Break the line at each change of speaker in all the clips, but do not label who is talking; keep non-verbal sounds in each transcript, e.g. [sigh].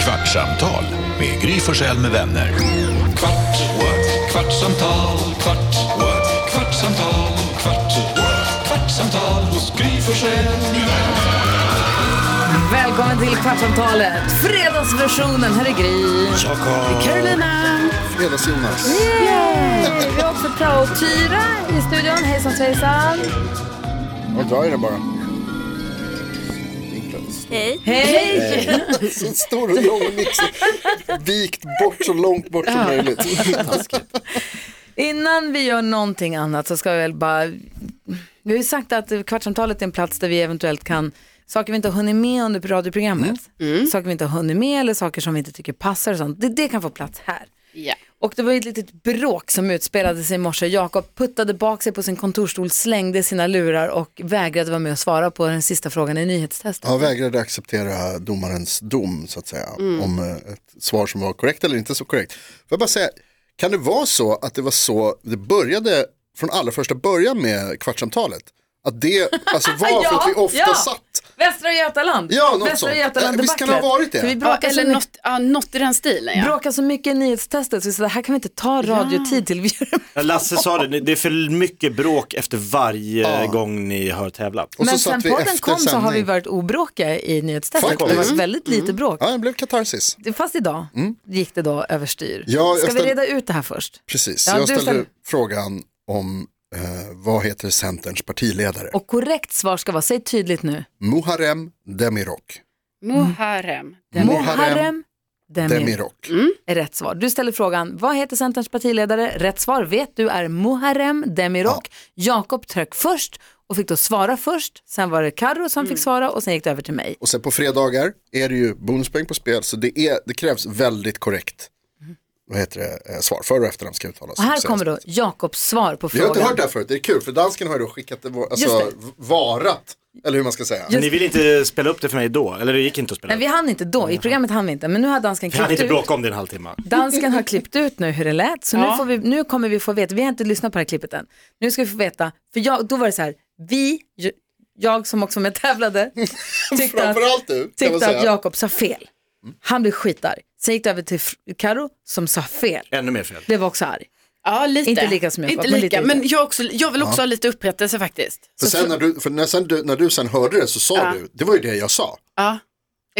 Kvartsamtal med Gry Forssell med vänner. Kvart, what? kvartsamtal, kvart, what? kvartsamtal, kvart, what? kvartsamtal hos Gry Forssell med vänner.
Välkommen till Kvartsamtalet, fredagsversionen. Här är Gry. Carolina.
Fredags-Jonas.
Yay! Vi har också prao-Tyra i studion. Hejsan svejsan.
Vad drar i den bara. Vinklades.
Hej!
Så stor och lång mix. Vikt bort så långt bort som möjligt.
Innan vi gör någonting annat så ska vi väl bara... Vi har ju sagt att Kvartsamtalet är en plats där vi eventuellt kan saker vi inte har hunnit med under radioprogrammet.
Mm.
Saker vi inte har hunnit med eller saker som vi inte tycker passar och sånt. Det, det kan få plats här.
Ja.
Och det var ju ett litet bråk som utspelade sig i morse. Jakob puttade bak sig på sin kontorstol, slängde sina lurar och vägrade vara med och svara på den sista frågan i nyhetstestet.
Jag vägrade acceptera domarens dom så att säga. Om eh, ett svar som var korrekt eller inte så korrekt. Får jag bara säga, kan det vara så att det var så det började från allra första början med kvartsamtalet? Att det alltså, var för att vi ofta
Ah, [laughs] ja.
satt.
Västra Götaland!
Ja, något
Västra
sånt.
Götaland
Eh, visst kan det ha
debaclet.
varit det?
För vi
Ja,
bråkar,
eller
så,
något, ja, något i den stilen ja.
bråkar så mycket i nyhetstestet så vi sa, det här kan vi inte ta radiotid till. Vi gör det
Ja, Lasse sa det, det är för mycket bråk efter varje gång ni har tävlat.
Och så
Men
satt
sen
vi
podden
efter
kom så har vi
sändning.
varit obråkiga i nyhetstestet.
Faktiskt.
Det har varit
Mm.
väldigt lite bråk.
Ja, det blev katarsis.
Fast idag gick det då överstyr.
Ja, jag
Ska vi
ställ-
reda ut det här först?
Precis,
Ja,
jag
du
ställde
ställer-
frågan om eh, vad heter Centerns partiledare?
Och korrekt svar ska vara, säg tydligt nu.
Muharrem Demirok.
Muharrem. Den är...
Muharrem
Muharrem Demir Mm.
Demirok.
är rätt svar. Du ställer frågan, vad heter Centerns partiledare? Rätt svar vet du är Muharrem Demirok. Jakob tryck först och fick då svara först. Sen var det Karo som
Mm.
fick svara och sen gick det över till mig.
Och sen på fredagar är det ju bonuspoäng på spel så det, är, det krävs väldigt korrekt vad heter det, eh, svar. För och efternamn ska uttalas.
Och här
Så-
kommer då Jakobs svar på
Vi har
frågan.
inte hört det här förut, det är kul för dansken har ju då skickat det, var- alltså,
Just
varat, eller hur man ska säga.
Men ni ville inte spela upp det för mig då, eller det gick inte att spela
Nej,
upp.
vi hann inte då. I programmet hann vi inte. Men nu har dansken
Vi hann
klippt
inte
ut.
bråka om det i en halvtimme.
Dansken har klippt ut nu hur det lät. Så nu,
Ja.
får vi, nu kommer vi få veta. Vi har inte lyssnat på det här klippet än. Nu ska vi få veta. För jag, då var det så här. Vi, j- jag som också med tävlade, tyckte att,
Framförallt du, kan man
tyckte att
säga.
Jakob sa fel. Han blev skitar. Sen gick det över till Fr- Karo som sa fel.
Ännu mer fel.
Blev också arg.
Ja, lite.
Inte lika som jag
Inte
var, men
lika.
lite, lite.
Men jag, också, jag vill också ha lite upprättelse faktiskt.
För sen när du, för när, sen du, när du sen hörde det så sa du, det var ju det jag sa.
Ja.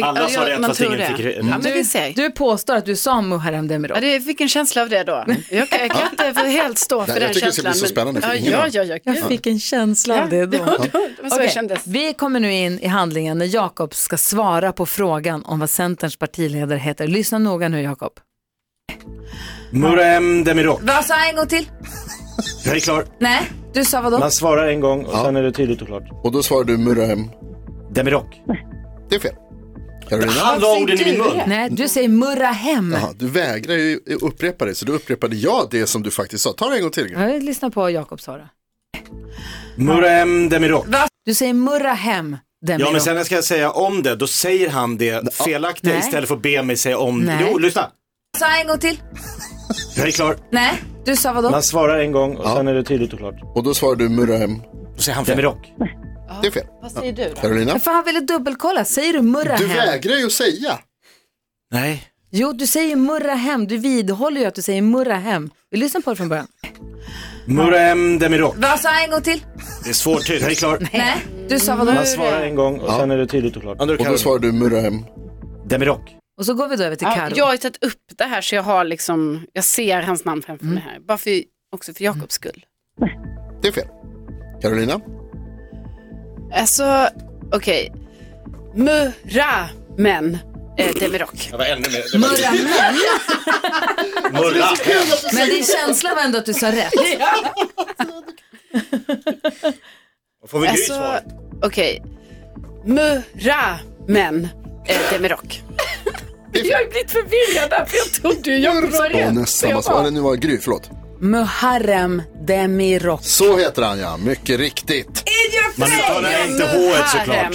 Alla
Ja,
sa rätt
man
fast
tror
ingen fick
det.
rätt.
Ja, men vi
Du,
ser.
du påstår att du sa Muharrem Demirok.
Ja, det, jag fick en känsla av det då. Jag kan, jag kan inte för helt stå för
Nej, jag
den
tycker det ska
känslan.
bli så spännande, för
men,
ingen
ja,
har-
ja, ja, ja,
Jag
gud.
fick en känsla av det då.
Det var så
Okej,
det kändes.
Vi kommer nu in i handlingen när Jakob ska svara på frågan om vad Centerns partiledare heter. Lyssna noga nu Jakob.
Muharrem Demirok.
Vad sa jag en gång till?
Jag är klar.
Nej, du sa vadå?
Man svarar en gång och sen är det tydligt och klart.
Och då svarade du Muharrem,
Demirok.
det är fel. Carolina?
Han la orden i min mun.
Nej, du säger Murrahem.
Jaha, du vägrar ju upprepa det, så då upprepade jag det som du faktiskt sa. Ta det en gång till.
Ja, lyssna på Jakob svara.
Muharrem Demirok.
Du säger Murrahem Demirok.
Ja men sen ska jag säga om det, då säger han det felaktiga
Nej.
istället för att be mig säga om det.
Nej.
Jo, lyssna.
Sa jag en gång till?
Jag är klar.
Nej, du sa vadå?
Man svarar en gång och sen är det tydligt och klart.
Och då svarade du Muharrem,
Då säger han fel. Demirok.
det är fel.
Vad säger du då?
Carolina?
För han ville dubbelkolla. Säger du
Du
Murrahem?
vägrar ju att säga.
Nej.
Jo, du säger Murrahem. Du vidhåller ju att du säger Murrahem. Vi lyssnar på det från början.
Muharrem Demirok.
Vad sa jag en gång till?
Det är svårt, jag är klar.
Nej, du sa vadå?
Man svarar en gång och sen är det tydligt och klart.
Och då svarade du Muharrem,
Demirok.
Och så går vi då över till
Ja,
Karo.
jag har ju tagit upp det här så jag har liksom, jag ser hans namn framför
Mm.
mig här. Bara för, också för Jakobs skull.
det är fel. Carolina?
Alltså, okej. Muramen eh, Demirok.
Jag var ännu mer.
Murrahem.
Murra.
Men din känsla var ändå att du sa rätt.
Då Får vi Gry
Alltså,
svar?
okej. Muramen eh, Demirok. Jag har blivit förvirrad där för jag trodde ju Jakob sa
Och nästan samma svar. Eller nu var det Gry, förlåt.
Muharrem Demirok.
Så heter han ja, mycket riktigt.
Man uttalar inte H-et såklart.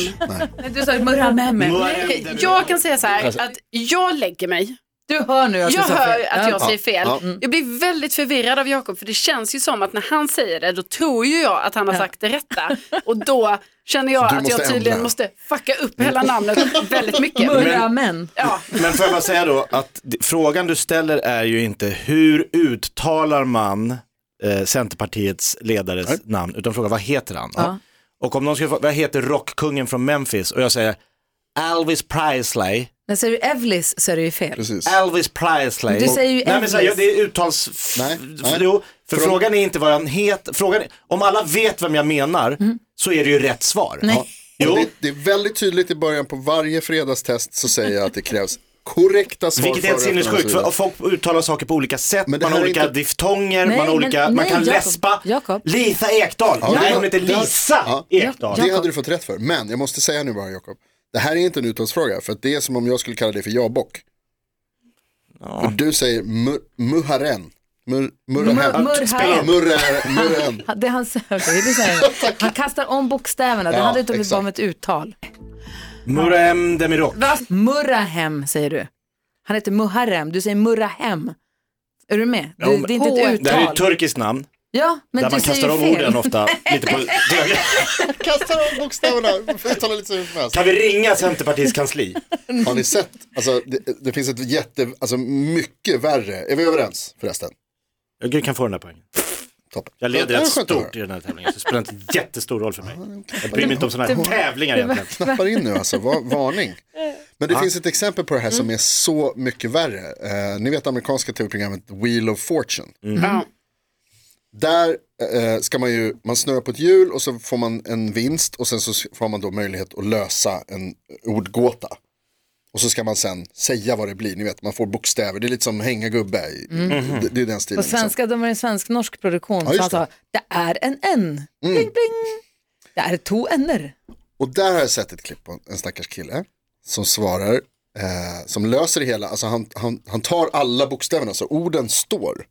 Du sa Murrahem.
Murra.
Alltså,
Jag kan säga så här att jag lägger mig
Du hör nu att
Jag
du sa
hör
fel.
att jag
Ja. Mm.
säger fel.
Ja.
Jag blir väldigt förvirrad av Jakob för det känns ju som att när han säger det då tror ju jag att han har sagt det rätta och då känner jag
Du
att jag
måste
tydligen
ändra.
måste fucka upp
[laughs]
hela namnet väldigt mycket.
Murra män.
Ja.
Men får jag bara säga då att d- frågan du ställer är ju inte hur uttalar man eh, Centerpartiets ledares namn, utan frågan vad heter han? Och om någon skulle fråga, vad heter rockkungen från Memphis? Och jag säger Elvis Presley.
När säger du Evlis så är det ju fel.
Precis.
Elvis Presley.
Du säger ju
Nej, men
Elvis.
så här, jag- det är uttals... f-
Nej,
f-
nej.
Jo, för
Fråga-
frågan är inte vad han heter. Frågan är, om alla vet vem jag menar
Mm.
så är det ju rätt svar.
Ja.
Jo.
Det, det är väldigt tydligt i början på varje fredagstest så säger jag att det krävs korrekta svar.
Vilket är helt
före och
sinnessjukt,
efter
för folk uttalar saker på olika sätt,
Men det
man har
här är
olika
inte-
diftonger,
Nej,
man, har
men-
olika, man
nej,
kan
Jakob.
läspa.
Jakob.
Lisa Ekdahl,
Ja,
nej
det-
hon heter
det-
Lisa
Ja.
Ekdahl.
Det hade du fått rätt för, men jag måste säga nu bara Jakob. Det här är inte en uttalsfråga, för att det är som om jag skulle kalla det för jabock. För du säger mur, muharen. Mur,
Mur-
muraren.
Murra
Murrär- murren.
Det han [laughs] säger, det är så
[laughs]
här. han kastar om bokstäverna. Det
Ja,
handlar inte om ett-
exakt.
om ett uttal.
Murem Demirok.
Murrahem säger du. Han heter Muharrem, du säger Murrahem. Är du med? Du,
men-
det är inte
Åh,
ett
Det här är ju
uttal.
ett turkiskt namn,
ja, men
där
du
man
säger
kastar
ju
om
fel.
orden ofta. Lite
[laughs]
på...
Kastar om bokstäverna, uttalar lite så hur som helst.
Kan vi ringa Centerpartiets kansli?
Har ni sett, alltså, det, det finns ett jätte, alltså mycket värre, är vi överens förresten?
Du kan få den här poängen.
Toppen.
Jag leder
Ja, det
rätt
är skönt att höra.
stort i den här tävlingen, så det spelar inte jättestor roll för mig. Jag bryr mig inte om sådana här tävlingar egentligen.
knappar in nu alltså, Va varning. Men det finns ett exempel på det här som är så mycket värre. Eh, ni vet amerikanska tv-programmet Wheel of Fortune.
Ja.
Där eh, ska man ju, man snurrar på ett hjul och så får man en vinst och sen så får man då möjlighet att lösa en ordgåta. Och så ska man sen säga vad det blir, ni vet man får bokstäver, det är lite som hänga gubbe, i- det, det är den stilen.
På
liksom.
svenska, de är en svensk-norsk produktion.
Ja,
så
just Mm.
han sa, det är en N. Bling, bling. Det är två N'er.
Och där har jag sett ett klipp på en stackars kille som svarar, eh, som löser det hela, alltså han, han, han tar alla bokstäverna, så orden står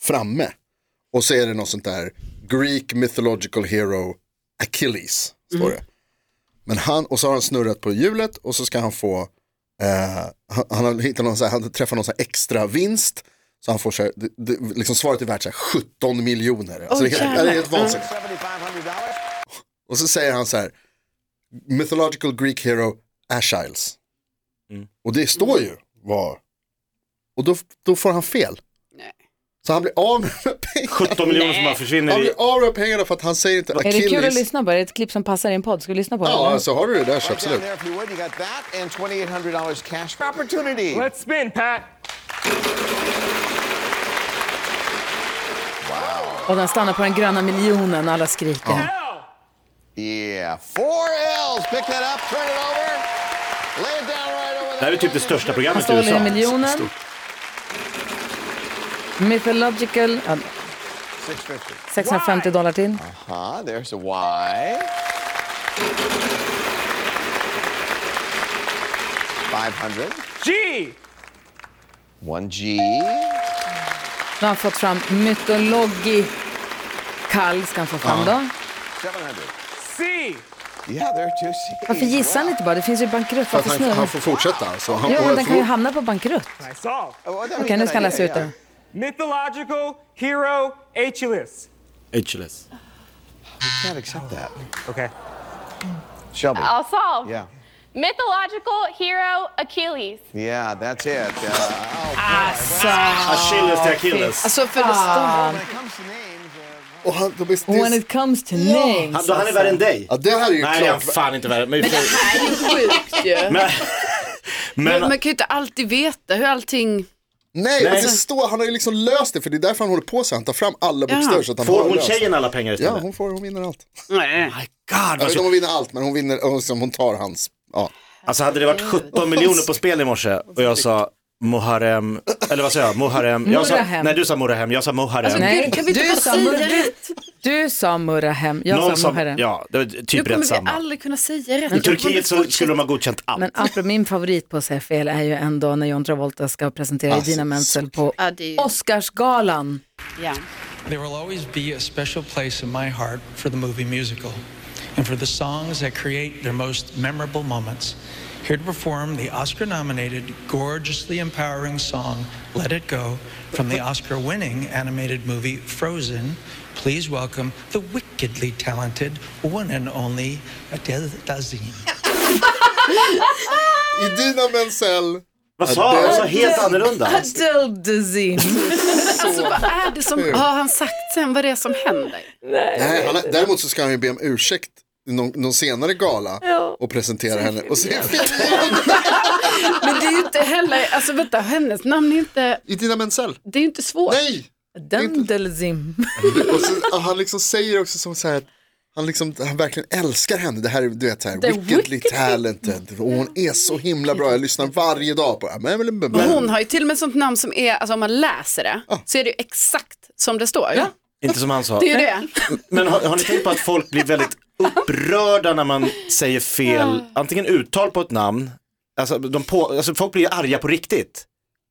framme. Och så är det något sånt där, Greek mythological hero Achilles, står det. Men han, och så har han snurrat på hjulet och så ska han få, eh, han, han, har hittat någon så här, han träffar någon så här extra vinst. Så han får så här, det, det, liksom svaret är värt så här 17 miljoner. Alltså det, är helt- det är helt vansinnigt. Och så säger han så här, mythological Greek hero Ashiles.
Mm.
Och det står ju vad. Och då, då får han fel.
Nej.
Så han blir av med pengarna.
17 miljoner som bara försvinner
Han
i...
blir av med pengarna för att han säger inte
Är det kul att
Achilles.
lyssna på? Är det ett klipp som passar i en podd? Ska vi lyssna på det?
Ja,
eller?
alltså har du det där
Right
så absolut.
down there, if you would, you got that and $2,800 cash opportunity.
Let's spin, Pat.
Och den stannar på den gröna miljonen, alla skriker.
Yeah, four L's. Pick that up, turn it over, lay it down right over
Det här är typ det största
Han
programmet i
står i
USA.
miljonen. Mythological, ja,
650.
650 dollar till.
Huh, Uh-huh, there's a Y. 500.
G.
One G.
Nu har han fått fram mytologi. Kall ska han få fram då.
700.
C.
Yeah, there are two C's.
Varför gissar han inte bara? Det finns ju bankrutt.
För att
Varför
han,
snurrar
han
han?
får fortsätta. Så han
Jo,
får,
men den kan ju
förmod-
hamna på bankrutt.
Nice solve.
Oh, well, that was
Okej,
a
nu
good
ska han läsa
idea,
ut den.
Mythological hero Achilles.
HLS.
yeah. Can't accept that.
Okay.
Shelby.
I'll solve.
Yeah.
Mythological hero Achilles.
Yeah, that's it. Uh, oh,
Alltså,
Achilles till Achilles.
Alltså för det
Ah.
står...
when it comes to names, uh,
och
when
han, de är, det, är-
it comes to names.
Han, han är värre än dig.
ja, det här är ju
Nej, det är han
klart.
fan inte värre. Men,
Sjukt ju.
men, men,
Man kan ju inte alltid veta hur allting...
Nej,
Nej.
Det står, han har ju liksom löst det för det är därför han håller på sig. Han tar fram alla bokstäver så att han
får
har
hon
löst.
tjejen alla pengar istället? Oh
Ja, hon, får, hon vinner allt.
Alltså-
Nej.
My God,
Jag
vad
vet inte om
synd.
hon vinner allt, men hon vinner, och liksom, hon tar hans. Ja.
Alltså hade det varit 17 miljoner på spel i morse och jag sa Moharem, eller vad sa jag? Moharem. Jag sa,
Morahem.
nej du sa Morahem, jag sa Moharem.
Nej,
Gud, kan vi inte
du
bara
sa
säga
Murra-
rätt?
Du sa Murrahem,
Någon
jag sa
som,
Muharrem.
ja, det var
Nu
typ
kommer
rätt
vi
samma.
aldrig kunna säga rätt.
I Turkiet så skulle de ha godkänt allt.
Men apropå min favorit på att säga fel är ju ändå när John Travolta ska presentera
Alltså,
Idina Menzel på
Ja, det är ju-
Oscarsgalan.
Ja.
There will always be a special place in my heart for the movie musical. and for the songs that create their most memorable moments. Here to perform the Oscar nominated, gorgeously empowering song Let It Go from the Oscar winning animated movie Frozen, please welcome the wickedly talented one and only Adele Dazeem.
Idina Menzel.
Vad sa han? Han sa helt annorlunda.
Adele disease.
Alltså vad är det som, har han sagt sen vad det är som händer?
Nej, han, däremot så ska han ju be om ursäkt i någon, någon senare gala och presentera henne. Och se [laughs]
Men det är ju inte heller, alltså vänta, hennes namn är inte,
Idina Menzel.
det är ju inte svårt.
Nej!
Dendelzim.
Och så, och han liksom säger också som så här, han, liksom, han verkligen älskar henne. Det här är, du vet, så här,
The
wickedly,
wickedly-
talented. Och hon är så himla bra. Jag lyssnar varje dag på henne. Men, men,
Och
men.
hon har ju till och med ett sånt namn som är, alltså om man läser det, så är det ju exakt som det står.
Inte som han sa.
Det är ju det.
Men har, har ni tänkt på att folk blir väldigt upprörda när man säger fel, antingen uttal på ett namn, alltså, de på, alltså folk blir ju arga på riktigt.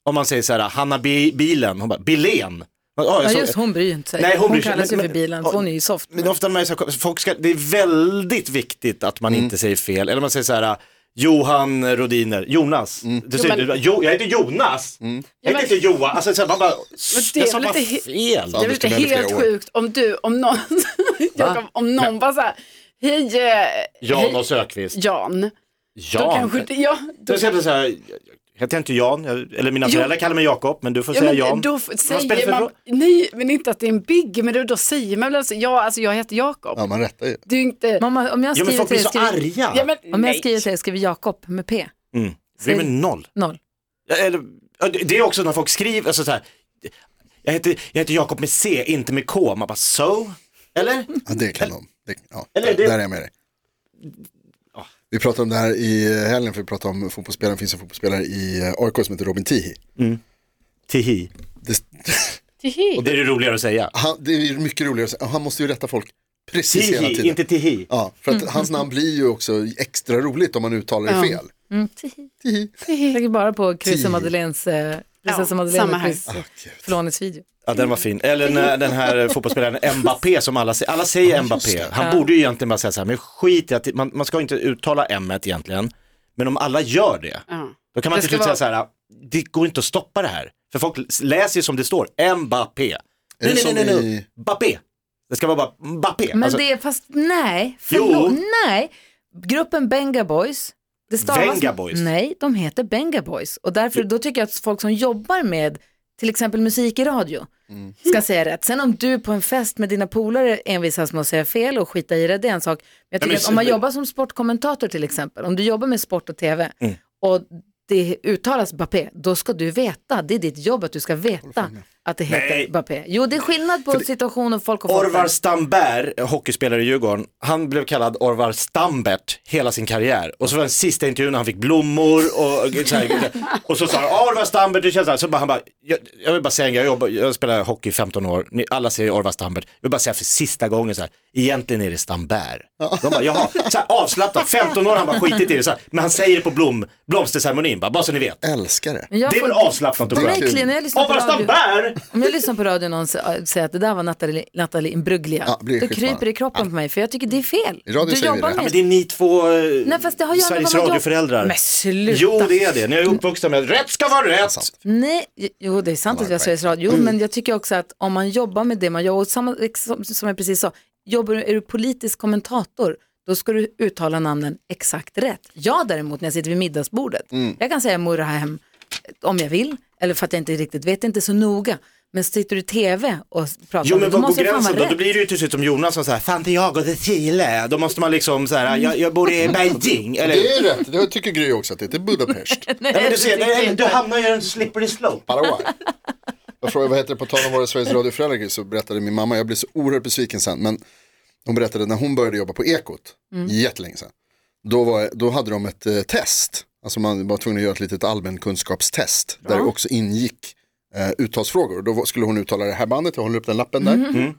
Om man säger så här, Hanna Bi- Bilen, hon bara, Bilén. Ja, jag
Ja,
såg-
just hon bryr inte sig.
Alltså, Nej, hon
hon
bryr sig.
kallas ju
Men-
för
men-
bilen, för hon är ju soft.
Men ofta när man är så här, folk ska, det är väldigt viktigt att man inte säger fel. Eller man säger så här, Johan Rodiner, Jonas. Du säger,
Jo,
du, jo, jag heter Jonas, jag heter inte Johan. Alltså, så här, man bara,
det är
jag sa
väl
bara
lite he-
fel.
Det är väl
Anders
inte
Timell i flera
helt
år.
sjukt om du, om någon, Jakob, om någon bara så här, hej, eh,
Jan
hej
och Sökvist.
Jan. Då
Jan.
kanske, inte- ja, då,
Då ska jag säga så här, heter jag inte Jan, Jag- eller mina
Jo.
föräldrar kallar mig Jakob, men du får
ja,
säga
men
Jan.
då f-
Vad spelar det
säger
för
man,
roll?
nej men inte att det är en bigg, men då, då säger man väl alltså, ja alltså jag heter Jakob.
Ja, man rättar ju.
Det är ju inte,
Mamma, om jag
Ja, men
skriver
folk
till
blir
dig,
så
skriver,
arga.
ja, men,
om jag
nej.
skriver till dig, skriver Jakob med P.
Det blir med noll.
Noll.
Ja, Eller, ja, det- det är också när folk skriver, alltså så här, jag heter, jag heter Jakob med C, inte med K. Man bara, so? Eller?
Ja, det kan de. Det, ja,
Eller
där,
det-
där är jag med dig. Vi pratade om det här i helgen, för vi pratade om fotbollsspelaren, det finns en fotbollsspelare i eh, AIK som heter Robin Tihi.
Tihi.
Det, [laughs]
Och det är det roligare att säga.
han, det är mycket roligare, att säga. han måste ju rätta folk precis hela
Tihi,
tiden.
inte Tihi.
Ja, för att hans namn blir ju också extra roligt om man uttalar det fel.
Mm.
Jag tänker bara på Chris
Tio.
och Madeleines, eh, prinsessa
Ja,
Madeleine
samma
och
här.
Chris Filonis video.
Ja, den var fin. Eller när den här fotbollsspelaren Mbappé som alla säger, alla säger Mbappé. Han borde ju egentligen bara säga så här, men skit i att, man, man ska inte uttala M egentligen, men om alla gör det,
Ja.
då kan man
Det
till
ska
slut säga så här, det går inte att stoppa det här. För folk läser ju som det står, Mbappé.
det
Nej, nej,
som
nej, nej,
i-
nej, Mbappé. Det ska vara bara Mbappé.
Men
Alltså,
det är, fast nej, förlåt,
Jo.
nej. Gruppen Benga Boys, det stavas...
Venga Boys.
Nej, de heter Benga Boys. Och därför, då tycker jag att folk som jobbar med till exempel musik i radio
Mm.
ska säga rätt. Sen om du på en fest med dina polare envisas med att säga fel och skita i det, det är en sak. Men jag tycker
men
att om man
super-
jobbar som sportkommentator till exempel, om du jobbar med sport och tv
Mm.
och det uttalas Bappé, då ska du veta, det är ditt jobb att du ska veta att det heter
Nej.
Bappé. Jo, det är skillnad på situation och folk och folk.
Orvar Stamberg, hockeyspelare i Djurgården, han blev kallad Orvar Stambert hela sin karriär. Och så var den sista intervjun när han fick blommor och så, här, och så sa han "Ah, Orvar Stambert, det känns så här. Så bara, han bara, jag, jag vill bara säga en grej, jag, jobbar, jag spelar hockey i 15 år, Ni, alla säger Orvar Stambert. Jag vill bara säga för sista gången så här, egentligen är det Stamberg. De bara, jaha, så här, avslappnat, 15 år har han bara skitit i det. Så här, men han säger det på blom, blomsterceremonin, bara, bara så ni vet.
Älskar det.
Men jag
Det är
får-
väl avslappnat och
För mig,
skönt.
Clean, när jag lyssnar på
Orvar
radio,
Stamberg!
om jag lyssnar på radio och någon sä- äh, säger att det där var Natalie, Natalie Imbruglia,
Ja, blir
det
skitvarm.
kryper i kroppen på mig för jag tycker det är fel.
I radio
du
säger vi
jobbar
det. Ja,
Men
med...
det är ni två eh,
Nej, fast det har ju ändå
Sveriges
vad man gör.
Radio-föräldrar.
Men sluta.
Jo, det är det. Ni är ju uppvuxna med att rätt ska vara rätt.
Nej, jo det är sant att jag säger radio,
Mm.
men jag tycker också att om man jobbar med det man gör, och samma, som, som jag precis sa, jobbar, du- är du politisk kommentator, då ska du uttala namnen exakt rätt. Jag däremot när jag sitter vid middagsbordet,
Mm.
jag kan säga Murrahem om jag vill, eller för att jag inte riktigt vet, det är inte så noga. Men sitter du i tv och s- pratar,
Jo men
då
vad går
måste det fan
gränsen
vara
då? Då
rätt.
blir det ju till slut som Jonas som säger Santiago de Chile. Då måste man liksom så här, jag, jag bor i Beijing. Eller,
Det är rätt, det tycker Gry också att det heter Budapest.
nej, men du ser, nej, du hamnar ju i en slippery slope.
Paraguay. Jag frågade vad heter det på tal om våra Sveriges Radio-föräldrar så berättade min mamma, jag blev så oerhört besviken sen, men hon berättade när hon började jobba på Ekot,
Mm.
jättelänge sedan, då, var, då hade de ett eh, test, alltså man var tvungen att göra ett litet allmänkunskapstest, där också ingick eh, uttalsfrågor. Då var- skulle hon uttala det här bandet, jag håller upp den lappen där.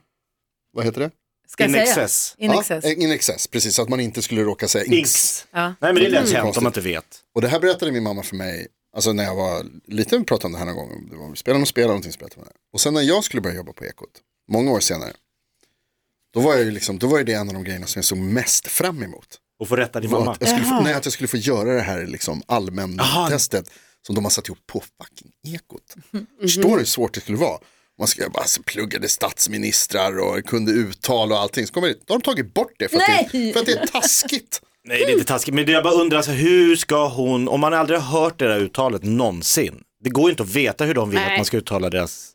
Vad heter det?
Ska jag
In
säga?
excess.
Mm-hmm. In
Ja,
excess.
eh, in excess, precis, så att man inte skulle råka säga inx.
Inks. Nej men det är lätt hänt om man inte vet.
Och det här berättade min mamma för mig, alltså när jag var liten, vi pratade om det här någon gång, det var, spelade någon spelare någonting, så berättade man det. Och sen när jag skulle börja jobba på Ekot, många år senare, Då var, jag ju liksom, då var ju det en av de grejerna som jag såg mest fram emot.
Och få rätta din
Var
mamma.
Att jag skulle få, nej, att jag skulle få göra det här liksom allmäntestet som de har satt ihop på fucking Ekot. Förstår du hur svårt det skulle vara? Man ska, jag bara alltså, pluggade statsministrar och kunde uttal och allting. Så kommer det, då har de tagit bort det för att, det,
Nej!
för att det är taskigt.
Nej det är inte taskigt, men det jag bara undrar, alltså, hur ska hon, om man aldrig har hört det där uttalet någonsin, det går ju inte att veta hur de vill att
Nej.
man ska uttala deras,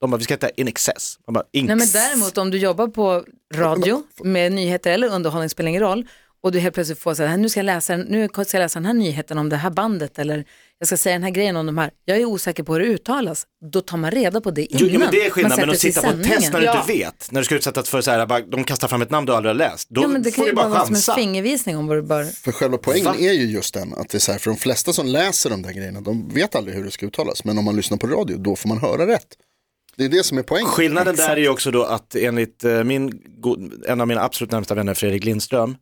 de bara vi ska heta in excess. Man bara, in
Nej, men
excess.
däremot om du jobbar på radio med nyheter eller underhållning spelar ingen roll och du helt plötsligt får så här, nu ska jag läsa, den- nu ska jag läsa den här nyheten om det här bandet eller jag ska säga den här grejen om de här, jag är osäker på hur det uttalas, då tar man reda på det innan.
Jo, jo, men det är skillnad, men
sätter
att
sig i
sitta på ett test när
sändningen.
du
Ja.
inte vet, när du ska utsättas för så här, bara, de kastar fram ett namn du aldrig har läst, då
Ja, men det
får
kan
du
ju
bara
bara vara som
chansa.
en fingervisning om vad du bör...
För själva poängen
Va?
är ju just den att det är så här, för de flesta som läser de där grejerna, de vet aldrig hur det ska uttalas. Men om man lyssnar på radio, då får man höra rätt. Det är det som är poängen.
Skillnaden där är ju också då att enligt eh, min, go- en av mina absolut närmsta vänner, Fredrik Lindström,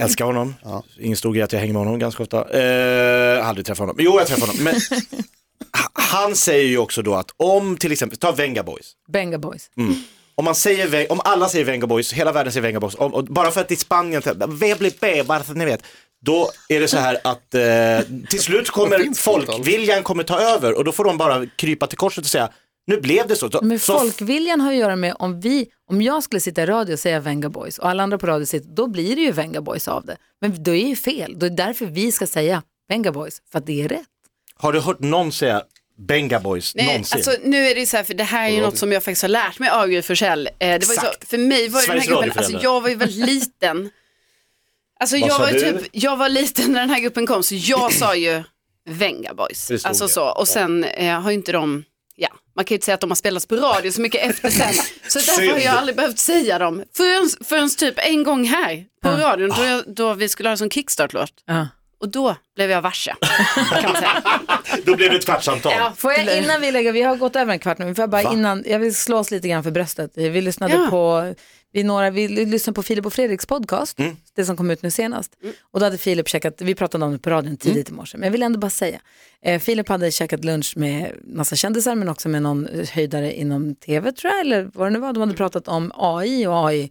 älskar honom, ingen stor grej att jag hänger med honom ganska ofta, eh, aldrig träffat honom, jo jag träffar honom, men h- han säger ju också då att om till exempel, ta Venga Boys,
Benga Boys.
Mm. om, man säger, Ve- om alla säger Venga Boys, hela världen säger Venga Boys, om, och bara för att i Spanien, VBB, bara för att ni vet, då är det så här att eh, till slut kommer folkviljan kommer ta över och då får de bara krypa till korset och säga nu blev det så. Så-
Men
så-
folkviljan har att göra med om vi, om jag skulle sitta i radio och säga Venga Boys och alla andra på radio sitter, då blir det ju Venga Boys av det. Men då är ju fel, då är det därför vi ska säga Venga Boys, för att det är rätt.
Har du hört någon säga Benga Boys
Nej,
någonsin?
alltså, nu är det ju så här, för det här är ju något som jag faktiskt har lärt mig av Gry Forssell. Eh, det var ju så,
Exakt.
för mig var ju den här
Sveriges
gruppen, alltså
Radio-föräldrar.
jag var ju väldigt liten. Alltså
Vad
jag
sa
var, ju
du?
typ, jag var liten när den här gruppen kom, så jag sa ju Venga Boys.
Det stod
Alltså
det.
så, och sen eh, har ju inte de, ja, man kan ju inte säga att de har spelats på radio så mycket efter sen.
[laughs]
Så därför har jag
Synd.
aldrig behövt säga dem. Förrän, förrän typ en gång här på radion,
Ah.
då, jag, då vi skulle ha en sån kickstart-låt. Och då blev jag varse, kan man säga.
[laughs] Då blev det
[laughs]
ett kvartssamtal.
Ja.
Får jag innan vi lägger, vi har gått över en kvart nu, men får jag bara innan, jag vill slå oss lite grann för bröstet. Vi lyssnade
Ja.
på, vi, några, vi lyssnade på Filip och Fredriks podcast, det som kom ut nu senast. Och då hade Filip checkat, vi pratade om det på radion tidigt i morse, men jag vill ändå bara säga. Eh, Filip hade checkat lunch med massa kändisar, men också med någon höjdare inom tv tror jag, eller vad det nu var. De hade pratat om AI och AI,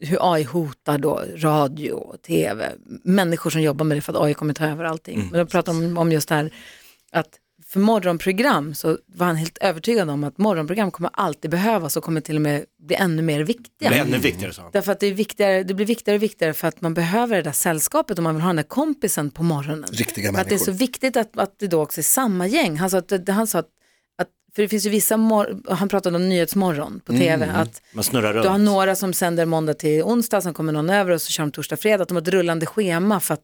hur AI hotar då radio och tv, människor som jobbar med det för att AI kommer ta över allting.
Mm.
Men de pratade om, om just det här att för morgonprogram så var han helt övertygad om att morgonprogram kommer alltid behövas och kommer till och med bli ännu mer
Det
viktiga.
är ännu viktigare sa han.
Därför att det, är viktigare, det blir viktigare och viktigare för att man behöver det där sällskapet och man vill ha den där kompisen på morgonen.
Riktiga
För att det är så
människor.
viktigt att, att det då också är samma gäng. Han sa att, det- han sa att, att för det finns ju vissa, mor- han pratade om Nyhetsmorgon på tv,
Mm.
att
Man snurrar
du har
runt.
några som sänder måndag till onsdag, sen kommer någon över och så kör de torsdag, fredag. Att de har ett rullande schema för att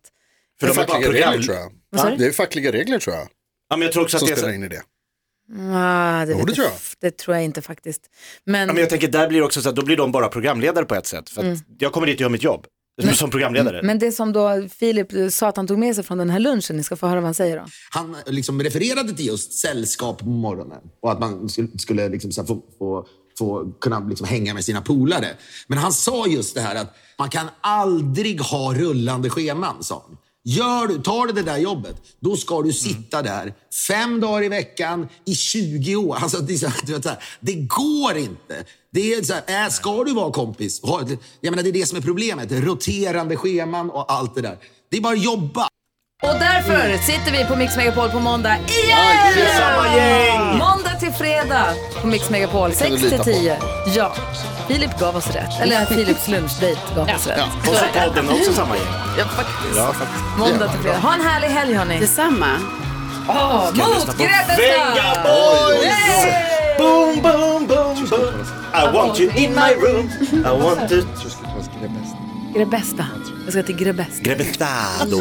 För
Det
de
är
har bara
fackliga regler tror
program.
jag.
Vad sa du?
Det är fackliga regler tror jag.
Ja, men jag tror också att
Som
det är så...
spelar in i det.
Ah, det,
Jo,
vet
det
jag-
tror jag.
det tror jag inte faktiskt. Men,
Ja, men jag tänker där blir det också så att då blir de bara programledare på ett sätt. För att jag kommer dit och gör mitt jobb. Som, som programledare.
Mm. men det som då Filip sa att han tog med sig från den här lunchen, ni ska få höra vad han säger då.
han liksom refererade till just sällskap på morgonen och att man skulle, skulle liksom så här få, få, få kunna liksom hänga med sina polare. Men han sa just det här att man kan aldrig ha rullande scheman, sa han. Gör du, tar du det där jobbet, då ska du sitta där fem dagar i veckan i 20 år. Alltså, det, är så här, du vet, så här, det går inte. Det är så här, äh, ska du vara kompis? Ha ett- Jag menar, det är det som är problemet. Roterande scheman och allt det där. Det är bara att jobba.
Och därför sitter vi på Mix Megapol på måndag igen! Måndag till fredag på Mix Megapol, 6 till
lita på.
10. Ja, Filip gav oss rätt. Eller
[laughs]
Filips lunchdejt gav oss rätt.
Och så podden också samma gäng.
Måndag till fredag. Ha en härlig helg hörni.
Detsamma.
Oh, mot
Venga
Grebbestad!
Boys! Boom, boom, boom, boom. I want you in my
[laughs]
room. I want to...
Grebbesta. Jag ska till Grebbesta.
Grebestado.